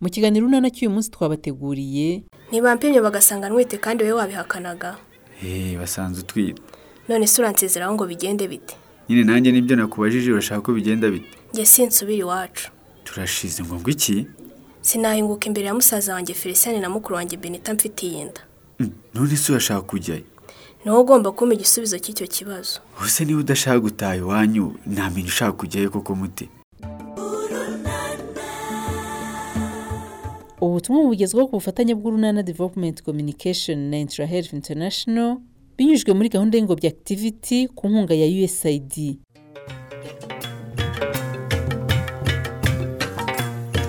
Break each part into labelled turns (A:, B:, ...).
A: Mu kiganiro urunana cy'uyu munsi twabateguriye
B: ntibampimye bagasanga ntwite kandi wowe wabihakanaga
C: eee Eh, basanze utwite
B: none se uransezeraho ngo bigende bite
C: nyine nanjye nibyo nakubajije urashaka ko bigenda bite
B: njye sinsubira iwacu
C: turashize ngo ngo iki
B: sinahinguka imbere ya musaza wanjye felicien na mukuru wanjye benita mfitiye inda
C: Mm, none se urashaka kujyayo
B: niwo ugomba kumpa igisubizo cy'icyo kibazo
C: ubuse niba udashaka gutaha iwanyu ntamenya ushaka kujyayo koko muti
A: ubutumwa bugezweho ku bufatanye bw'urunana development communication na intrahealth international binyujijwe muri gahunda y'ingobyi activity ku nkunga ya usaid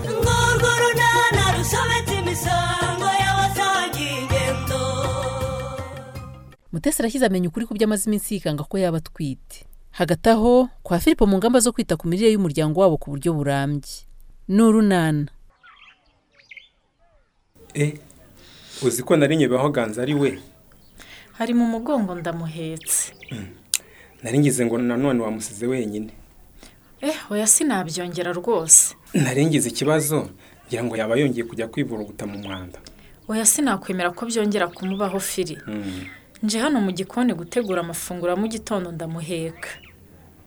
D: ngurwo runana rusobetse imisango y'abasangiye ingendo
A: mutesi arashyize amenya ukuri ku byo amaze iminsi yikanga ko yaba atwite hagati aho kwa filipo mu ngamba zo kwita ku mirire y'umuryango wabo ku buryo burambye ni urunana
E: e uzi ko nari nyebeho ganza ari we
F: hari mu mugongo ndamuhetse
E: nari ngize ngo nanone wamusize wenyine
F: eh oya sinabyongera rwose
E: nari ngize ikibazo ngira ngo yaba yongeye kujya kwivuruguta mu mwanda
F: oya sinakwemera ko byongera kumubaho firi nje hano mu gikoni gutegura amafunguro ya mu gitondo ndamuheka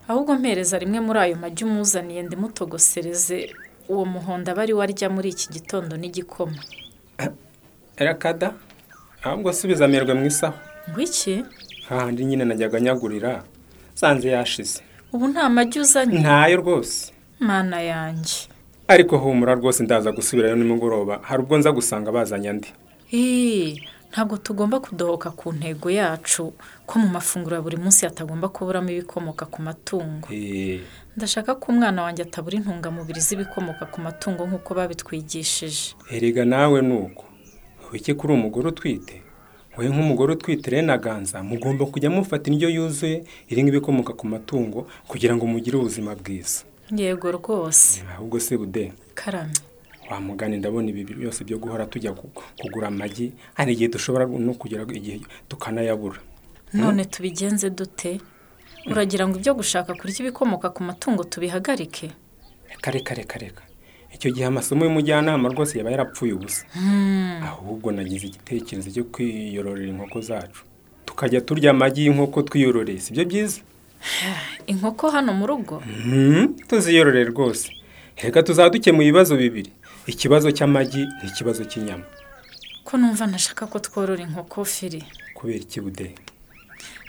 F: ahubwo mpereza rimwe muri ayo magi umuzaniye ndimutogosereze uwo muhondo aba ari we arya muri iki gitondo n'igikoma
E: erakada ahubwo subiza amerwe mu isaho
F: ngwiki
E: hahandi nyine najyaga nyagurira sanze yashize
F: ubu nta magi uzanye
E: ntayo rwose
F: mana yanjye
E: ariko humura rwose ndaza gusubirayo nimugoroba hari ubwo nza gusanga bazanye andi
F: Hii, ntabwo tugomba kudohoka ku ntego yacu ko mu mafunguro ya buri munsi hatagomba kuburamo ibikomoka ku matungo
E: Eh,
F: ndashaka ko umwana wanjye atabura intungamubiri z'ibikomoka ku matungo nk'uko babitwigishije
E: erega nawe nuko wiki kuri umugore utwite wowe nk'umugore utwite rero na ganza mugomba kujya mufata indyo yuzuye irimo ibikomoka ku matungo kugira ngo mugire ubuzima bwiza
F: yego rwose
E: ahubwo se bude
F: karame
E: wamugana ndabona ibi byose byo guhora tujya ku- kugura amagi hari igihe dushobora no kugera igihe tukanayabura
F: none tubigenze dute uragira ngo ibyo gushaka kurya ibikomoka ku matungo tubihagarike
E: reka reka reka reka icyo gihe amasomo y'umujyanama rwose yaba yarapfuye ubusa
F: Hmm.
E: ahubwo nagize igitekerezo cyo kwiyororera inkoko zacu tukajya turya amagi y'inkoko twiyororeye si byo byiza
F: inkoko hano mu rugo
E: Mhm, tuziyorore rwose reka tuzaba dukemura ibibazo bibiri ikibazo cy'amagi n'ikibazo cy'inyama
F: ko numva ntashaka ko tworora inkoko firi
E: kubera iki budehe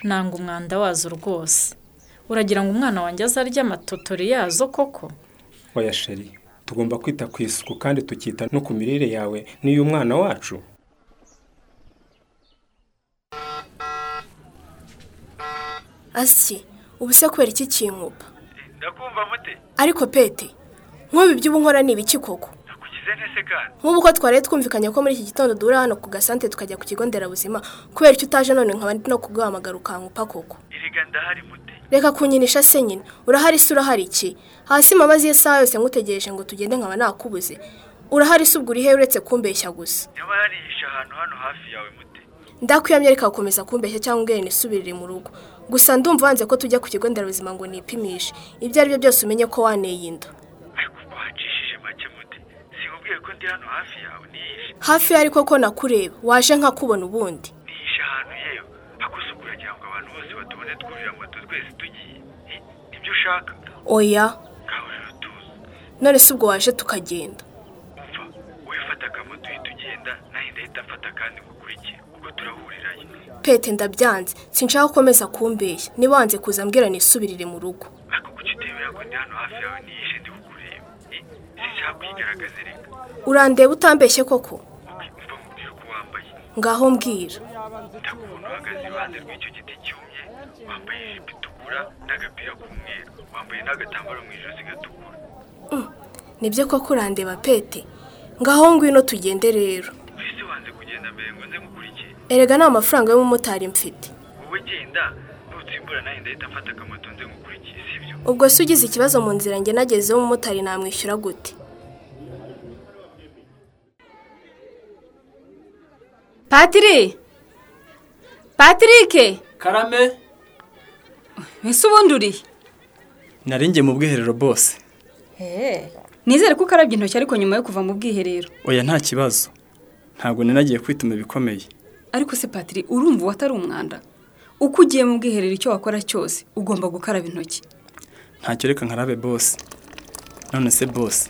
F: nanga umwanda wazo rwose uragira ngo umwana wanjye azarya amatotori yazo koko
E: oya sheri tugomba kwita ku isuku kandi tukita no ku mirire yawe n'iy'umwana wacu
B: asi ubu se kubera iki kinkupa
G: ndakumva mute
B: ariko pete nk'ubu iby'ubu nkora ni ibiki koko
G: nakugize nese kandi
B: nk'ubu ko twari twumvikanye ko muri iki gitondo duhura hano ku gasante tukajya ku kigo nderabuzima kubera icyo utaje none nkaba no kuguhamagara ukankupa koko
G: erega ndahari mute
B: reka kunyinisha se nyine urahari se urahari iki hasi mamaze isaha yose ngutegereje ngo tugende nkaba nakubuze urahari se ubwo uri he uretse kumbeshya gusa
G: niba yarihishe ahantu hano hafi yawe mute
B: ndakuyamye reka gukomeza kumbeshya cyangwa ungere nisubirire mu rugo gusa ndumva wanze ko tujya ku kigo nderabuzima ngo nipimishe ibyo ari byo byose umenye ko waneye inda
G: ariko ubwo wacishije make mute sinkubwiye ko ndi hano hafi yawe nihishe
B: hafi ariko ko nakureba waje nkakubona ubundi
G: nihishe ahantu yewe hakusuku uragira ngo abantu bose batubone twurira moto twese tugiye I- ibyo ushaka
B: oya
G: ngahurira utuzi
B: none se ubwo waje tukagenda
G: umva wifata akamoto uhita ugenda nahe ndahita mfata kandi ngukurikire ubwo turahuriranye
B: pete ndabyanze sinshaka gukomeza kumbeshya niba wanze kuza mbwira nisubirire mu rugo
G: ariko kuki utemera ko ndi hano hafi yawe nihishe ndi kukureba I- sinshaka kuyigaragaza reka
B: urandeba utambeshye koko
G: Ok, umva nkubwire uko wambaye
B: ngaho mbwira
G: ndakubona uhagaze iruhande rw'icyo giti cyumye wambaye ijipo itukura n'agapira k'umweru wambaye n'agatambaro mu ijosi gatukura
B: Mm. nibyo koko urandeba pete ngaho ngwino tugende rero
G: mbese wanze kugenda mbere ngo nze nkukurikiye
B: erega nta mafaranga y'umumotari mfite
G: wowe genda nutsimbura nawe ndahita mfata akamoto nze nkukurikiye sibyo
B: ubwo se ugize ikibazo mu nzira njye nagezeho umumotari namwishyura gute
H: patiri patirike
I: karame
H: ese ubundi urihe
E: nari ngiye mu bwiherero bose
H: nizere ko ukarabye intoki ariko nyuma yo kuva mu bwiherero
I: oya nta kibazo ntabwo ninagiye kwituma ibikomeye
H: ariko se patiri urumva uwatari umwanda uko ugiye mu bwiherero icyo wakora cyose ugomba gukaraba intoki
I: ntacyo reka nkarabe bose none se bose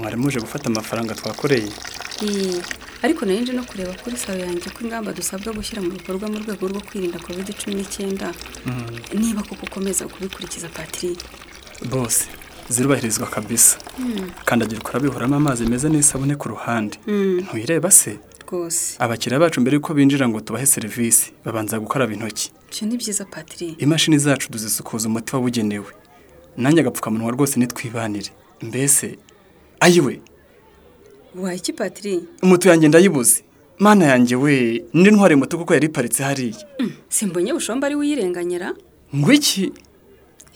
I: mwari muje gufata amafaranga twakoreye
H: Ii, ariko nari nje no kureba kuri salo yanjye ko ingamba dusabwa gushyira mu bikorwa mu rwego rwo kwirinda covid cumi n'icyenda
I: Hmm,
H: niba koko ukomeza kubikurikiza patiri
I: bose zirubahirizwa kabisa kandagira ukarabe ihoramo amazi meza n'isabune ku ruhande ntuyireba se
H: Hmm. rwose
I: abakiriya bacu mbere yuko binjira ngo tubahe serivisi babanza gukaraba intoki
H: ibyo ni byiza patiri
I: imashini zacu duzisukuza umuti wabugenewe nanjye agapfukamunwa rwose nitwibanire mbese ayiwe
H: waye iki patiri
I: moto yanjye ndayibuze mana yanjye we ninde ntware moto kuko yari iparitse hariya
H: simbonye bushomba ari we uyirenganyira
I: ngo iki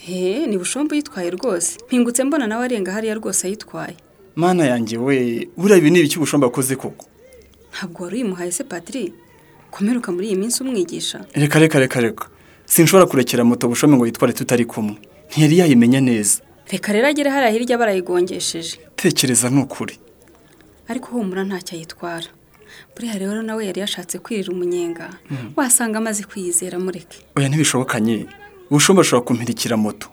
H: he ni bushomba uyitwaye rwose mpingutse mbona nawe arenga hariya rwose ayitwaye
I: mana yanjye we buriya ibi ni ibiki ubushomba akoze koko
H: ntabwo wari uyimuhaye se patiri komeruka muri iyi minsi umwigisha
I: reka reka reka reka sinshobora kurekera moto bushombe ngo yitware tutari kumwe ntiyari yayimenya neza
H: reka rero agere hariya hirya barayigongesheje
I: tekereza nk'ukuri
H: ariko humura ntacyo ayitwara buriya rero nawe yari yashatse kwirira umunyenga wasanga amaze kwiyizera mureke
I: oya ntibishobokanye ubushomba ashobora kumpirikira moto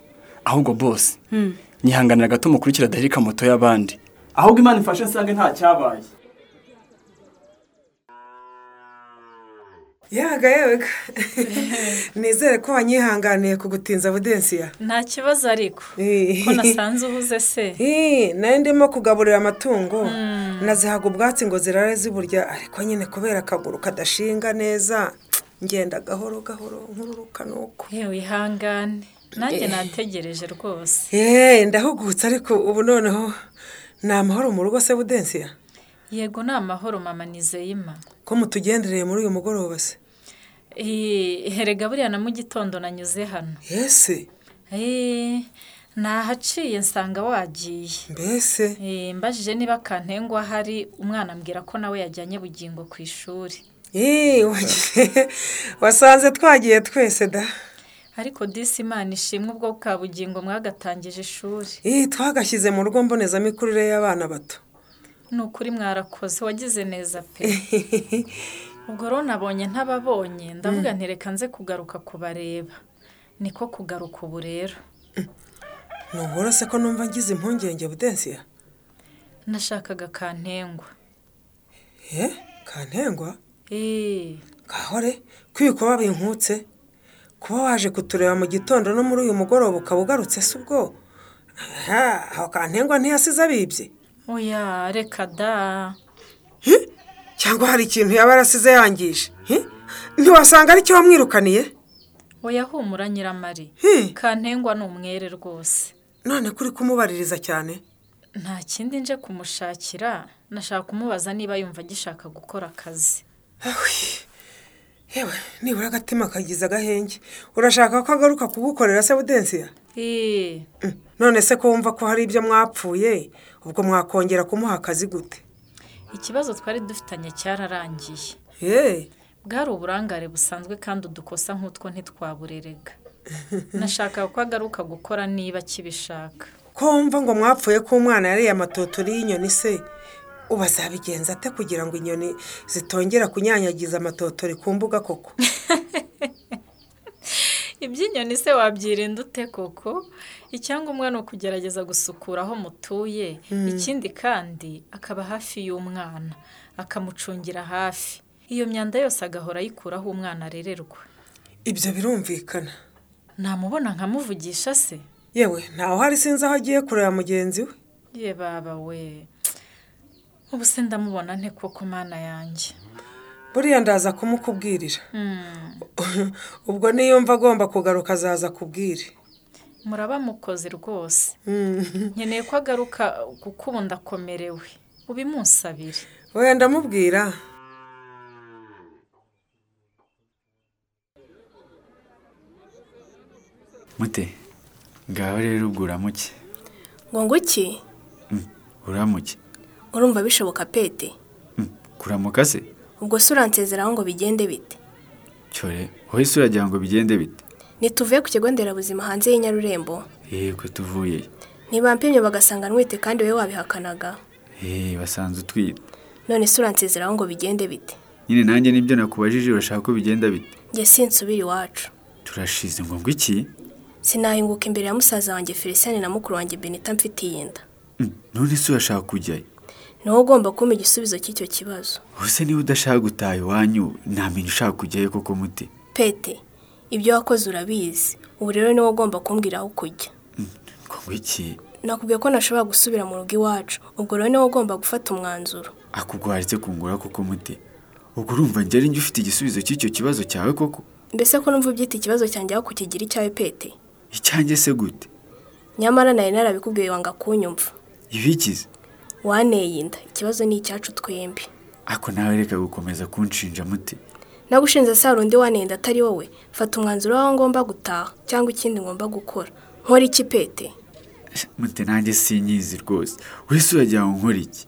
I: ahubwo bose
H: Hmm.
I: nyihanganira gato mukurikira adahirika moto y'abandi ahubwo imana imfashe nsange nta cyabaye
J: yaga yaga nizere ko wanyihanganiye kugutinza budensiya
F: nta kibazo ariko ko nasanze uhuze se
J: Ii, nari ndimo kugaburira amatungo nazihaga ubwatsi ngo zirare ziburya ariko nyine kubera akaguru kadashinga neza ngenda gahoro gahoro nkururuka nuko
F: yewe ihangane nanjye nategereje rwose
J: yeee ndahugutse ariko ubu noneho ni amahoro mu rugo se budensiya
F: yego ni amahoro mama nizeyima
J: ko mutugendereye muri uyu mugoroba se
F: Eh, herega buriya na mu gitondo nanyuze hano
J: yese
F: Eh, nahaciye nsanga wagiye
J: mbese
F: Eh, mbajije niba kantengwa ahari umwana ambwira ko nawe yajyanye bugingo ku ishuri
J: Ii, wagiye- wasanze twagiye twese da
F: ariko disi imana ishimwe ubwo bwa bugingo mwagatangije ishuri
J: Ii, twagashyize mu rugo mbonezamikurire y'abana bato
F: ni ukuri mwarakoze wagize neza pe ubwo rero nabonye ntababonye ndavuga
J: Mm.
F: nti reka nze kugaruka kubareba niko kugaruka ubu rero
J: nuborose ko numva ngize impungenge budensiya
F: nashakaga kantengwa
J: ye Eh? kantengwa
F: eee
J: gahore kwiko babinkutse kuba waje kutureba mu gitondo no muri uyu mugoroba ukaba ugarutse se ubwo aha aho kantengwa ntiyasize abibye
F: oya reka da
J: cyangwa hari ikintu yaba yarasize yangije Hi? ntiwasanga aricyo wamwirukaniye
F: oya humura nyiramari
J: Hi.
F: kantengwa ni umwere rwose
J: none kuri kumubaririza cyane
F: nta kindi nje kumushakira nashaka kumubaza niba yumva agishaka gukora akazi
J: yewe nibura agatima kagize agahenge urashaka ko agaruka kugukorera se budensiya
F: eee
J: Mm, none se ko wumva ko hari ibyo mwapfuye ubwo mwakongera kumuha akazi gute
F: ikibazo twari dufitanye cyararangiye
J: ye
F: bwari uburangare busanzwe kandi udukosa nk'utwo ntitwaburerega nashakaga ko agaruka gukora niba akibishaka
J: ko wumva ngo mwapfuye ko umwana yariye amatotori y'inyoni se ubu azabigenza ate kugira ngo inyoni zitongera kunyanyagiza amatotori ku mbuga koko
F: iby'inyoni se wabyirinda ute koko icyangombwa ni ukugerageza gusukura aho mutuye ikindi kandi akaba hafi y'umwana akamucungira hafi iyo myanda yose agahora ayikuraho umwana arererwa
J: ibyo birumvikana
F: namubona nkamuvugisha se
J: yewe ntawe uhari sinzi aho agiye kureba mugenzi we
F: ye baba we ubu se ndamubona nte koko mana yanjye Hmm.
J: buriya ndaza kumukubwirira ubwo niyumva agomba kugaruka azaza kubwire
F: muraba mukoze rwose
J: Hmm.
F: nkeneye ko agaruka kuko ubu ndakomerewe ubimusabire
J: wenda ndamubwira
C: mute ngaho rero ubwo uramuke
B: ngo nguki
C: Mm, uramuke
B: urumva bishoboka pete
C: Mm, kuramuka se
B: ubwo se uransezeraho ngo bigende bite
C: cyore wowe se uragira ngo bigende bite
B: nituvuye ku kigo nderabuzima hanze y'inyarurembo
C: yego tuvuyeyo
B: ntibampimye bagasanga ntwite kandi wowe wabihakanaga
C: eee Eh, basanze utwite
B: none se uransezeraho ngo bigende bite
C: nyine nanjye nibyo nakubajije bashaka ko bigenda bite
B: njye sinsubira iwacu
C: turashize ngo ngo iki
B: sinahinguka imbere ya musaza wanjye felicien na mukuru wanjye benita mfitiye inda
C: Mm, none se urashaka kujyayo
B: niwo ugomba kumpa igisubizo cy'icyo kibazo
C: ubuse niba udashaka gutaha iwanyu ntamenya ushaka kujyayo koko muti
B: pete ibyo wakoze urabizi ubu rero niwo ugomba kumbwira aho kujya
C: ngo ngo iki
B: nakubwiye ko ntashobora gusubira mu rugo iwacu ubwo rero niwo ugomba gufata umwanzuro
C: akugwaritse kungura koko muti ubwo urumva njye ari njye ufite igisubizo cy'icyo kibazo cyawe koko
B: mbese ko numva ubyita ikibazo cyanjye aho kukigira icyawe pete
C: icyanjye se gute
B: nyamara nari narabikubwiye wanga kunyumva
C: ibikize
B: waneye inda ikibazo ni icyacu twembi
C: ako nawe reka gukomeza kunshinja muti
B: nagushinze saa rundi waneye inda atari wowe fata umwanzuro w'aho ngomba gutaha cyangwa ikindi ngomba gukora nkora iki pete
C: muti nanjye sinyizi rwose wese uragira ngo nkore iki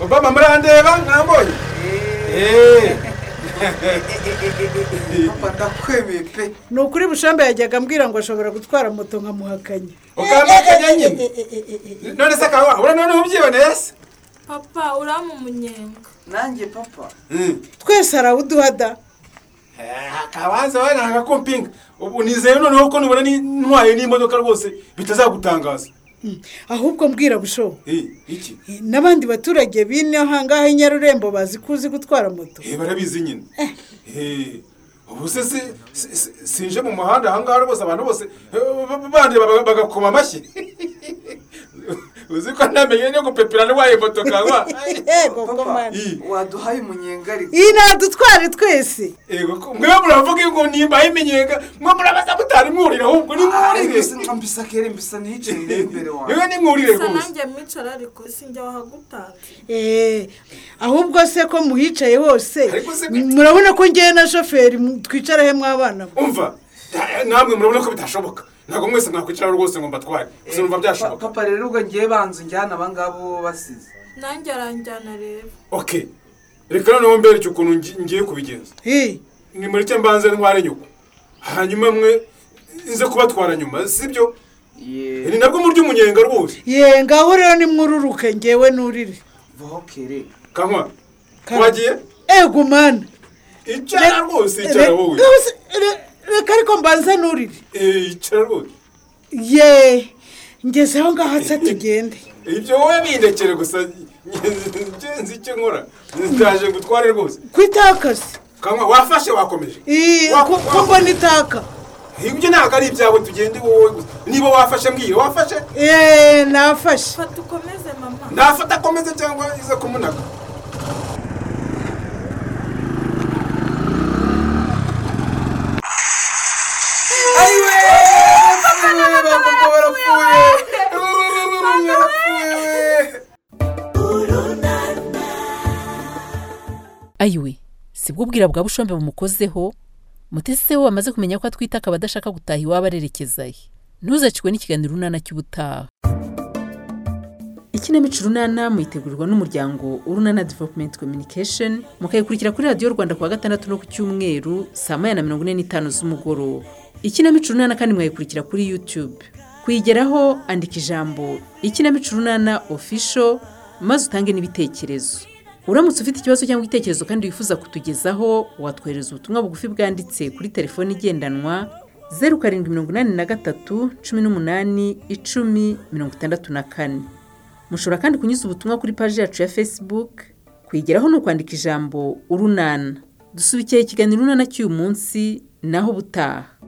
K: obama murandeba mwambonye Eh. Papa, ndakwemeye pe
L: ni ukuri bushambe yajyaga ambwira ngo ashobora gutwara moto nkamuhakanya
K: ukambakanya nyine none se akaba ura noneho ubyiboneye se
M: papa urama umunyenga nanjye papa
L: twese arawuduha da
K: Eh, akabanza wowe ni agakompinga ubu nizeye noneho ko nubona ni- ntwaye n'imodoka rwose bitazagutangaza
L: Mm. ahubwo mbwira busho
K: Eh, iki
L: n'abandi baturage b'ino hangaha i nyarurembo bazi ko uzi gutwara moto
K: Eh, barabizi nyine Eh, ubu se si- si- si- sinje mu muhanda ahangaha rwose abantu bose eh, ba- bandeba baga- bagakoma amashyi uzi ko ntamenye no gupepera n'uwaye moto kawa
L: yego komanda
K: waduhaye umunyenga ariko
L: iyi nadutware twese
K: yego mwe muravuga ngo nimba iminyenga mwe murabaza mutari mwurira ahubwo ni
N: Ah,
K: mwurire mbisa kere mbisa niyicaye imbere wawe yewe ni mwurire
M: gusa
K: rwose
M: nanjye mwicara ariko sinjya wahagutatse
L: Eh, ahubwo se ko muhicaye hose
K: se
L: murabona ko ngewe na shoferi mu- twicara he mwabana mwe.
K: umva da- Eh, namwe murabona ko bitashoboka ntabwo mwese mwakwicara rwose ngo mbatware gusa numva byashoboka
N: Eh, papa rero ubwo ngiye banza njyana abangabo basize
M: nanjye aranjyana rero
K: okay reka noneho mbereke ukuntu ngi- ngiye kubigenza ni muri cyo mbanze ntware nyoko hanyuma mwe nze kubatwara nyuma sibyo ni nabwo murya umunyenga rwose
L: ye ngaho rero nimwururuke ngewe nurire
K: vokere kankwa
L: Kanywa.
K: wagiye
L: ego mana
K: icara rwose icara wowe
L: reka ariko mbanza nurire
K: Eh, icara rwose
L: ye ngeze aho ngaho se tugende
K: ibyo wowe bindekere gusa nge- nzi icyo nkora ndaje gutware rwose
L: ku itakazi
K: kankwa wafashe wakomeje
L: Ii,
K: Wa-
L: ku-
K: wa-
L: kuko nitaka
K: ibyo ntabwo ari ibyawe tugende wowe gusa niba wafashe mbwira wafashe
L: ye nafashe
M: fata ukomeze mama
K: nafata akomeze cyangwa ize kumunaga
A: ayiwe si bwo ubwira bwa bushombe bumukozeho mutesi se we wamaze kumenya ko atwite akaba adashaka gutaha iwabo arerekeza he ntuzacikwe n'ikiganiro urunana cy'ubutaha
O: ikinamico urunana muyitegurwa n'umuryango urunana developumenti communication mukayikurikira kuri radiyo rwanda kuwa gatandatu no ku cyumweru saa moya na mirongo ine n'itanu z'umugoroba ikinamico urunana kandi mwayikurikira kuri yutube kuyigeraho andika ijambo ikinamico urunana ofisho maze utange n'ibitekerezo uramutse ufite ikibazo cyangwa igitekerezo kandi wifuza kutugezaho watwohereza ubutumwa bugufi bwanditse kuri telefoni igendanwa zeru karindwi mirongo inani na gatatu cumi n'umunani icumi mirongo itandatu na kane mushobora kandi kunyuza ubutumwa kuri paji yacu ya facebook kuyigeraho ni ukwandika ijambo urunana dusubikira ikiganiro urunana cy'uyu munsi naho ubutaha